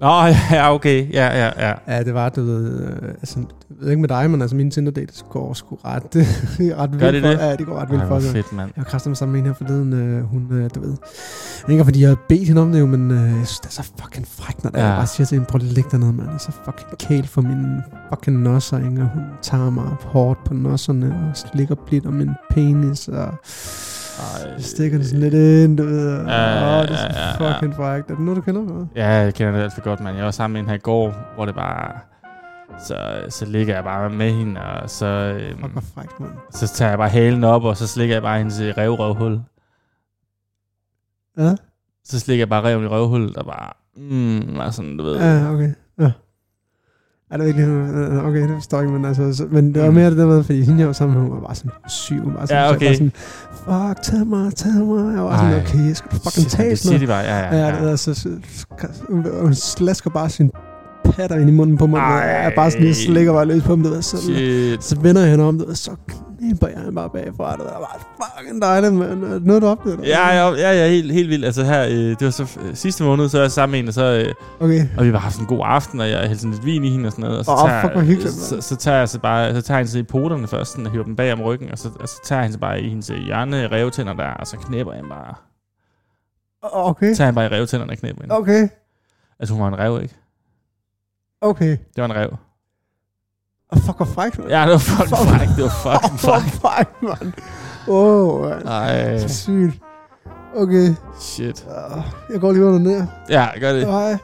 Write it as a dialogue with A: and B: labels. A: Nå, ja, okay. Ja, ja, ja.
B: Ja, det var, du ved, øh, altså, jeg ved ikke med dig, men altså mine Tinder dates går sgu ret, ret vildt
A: det
B: for.
A: det?
B: Ja, det går ret vildt
A: Ej,
B: for.
A: hvor
B: det.
A: fedt, mand.
B: Jeg var kraftig med sammen med en her forleden, øh, hun, øh, du ved, jeg ved ikke, fordi jeg har bedt hende om det jo, men øh, jeg synes, det er så fucking frækt, når ja.
A: Ja.
B: jeg bare siger til hende, prøv lige at lægge dig ned, mand, jeg er så fucking kæl for mine fucking nosser, ikke? og hun tager mig op hårdt på nosserne, og slikker blidt om min penis, og
A: Ej.
B: Ej. stikker den sådan lidt ind, du ved, og,
A: Ja,
B: ja, åh, det er så
A: ja, ja, ja.
B: fucking frækt. Er det noget, du kender med?
A: Ja, jeg kender det alt for godt, mand. Jeg var sammen med en her i går, hvor det bare... Så, så ligger jeg bare med hende, og så,
B: Fuck,
A: øhm,
B: hvor frækt, mand.
A: så tager jeg bare halen op, og så slikker jeg bare hendes øh, revrøvhul.
B: Ja,
A: Så slikker jeg bare reven i røvhullet, og bare... Mm, og sådan, du ved.
B: ja okay. Ja. Er det virkelig, øh, okay, det forstår jeg ikke, men, altså, så, men det var
A: Mm.
B: mere det der med, fordi hende jeg var sammen med, hun var bare sådan syg, hun var sådan,
A: Ja,
B: så jeg
A: okay.
B: bare sådan, fuck, tag mig, tag mig, jeg var sådan,
A: Ej.
B: okay, jeg skal du fucking
A: Shit, mand,
B: tage
A: det
B: sådan
A: siger
B: noget.
A: de bare, ja, ja,
B: Ja, det der, så, så, hun, hun slasker bare sin patter ind i munden på mig, og jeg er bare sådan, jeg
A: Ej.
B: slikker bare løs på dem, det der, så,
A: Shit.
B: så vender jeg hende om, det der, så knipper jeg hende bare bagfra, det der, var fucking dejligt, mand, Er det noget du oplevede? eller
A: Ja,
B: hvad?
A: ja, ja, ja helt, helt vildt. Altså her, øh, det var så øh, sidste måned, så var jeg sammen med en, og så... Øh,
B: Okay,
A: Og vi har haft en god aften, og jeg hældte lidt vin i hende og sådan noget. Og så,
B: Åh,
A: tager,
B: fuck, hvor hyggeligt, mand.
A: så, så, tager jeg så bare, så tager jeg hende så i poterne først, sådan, og hiver dem bag om ryggen, og så, og så tager jeg hende så bare i hendes øh, hjerne revtænder der, og så knæpper jeg hende bare.
B: okay,
A: Så tager jeg hende bare i revtænderne og knæpper hende. Okay.
B: okay,
A: Altså hun var en rev, ikke?
B: okay.
A: Det var en rev.
B: Og fuck, hvor frækt, mand.
A: Ja, det var fucking
B: Fuck.
A: fuck. Det var fucking fuck. Øh.
B: Åh, fuck, mand. Åh, oh, mand.
A: Ej,
B: Så sygt. Okay.
A: shit.
B: Uh, jeg går lige under ned.
A: Ja, gør det.
B: Hej.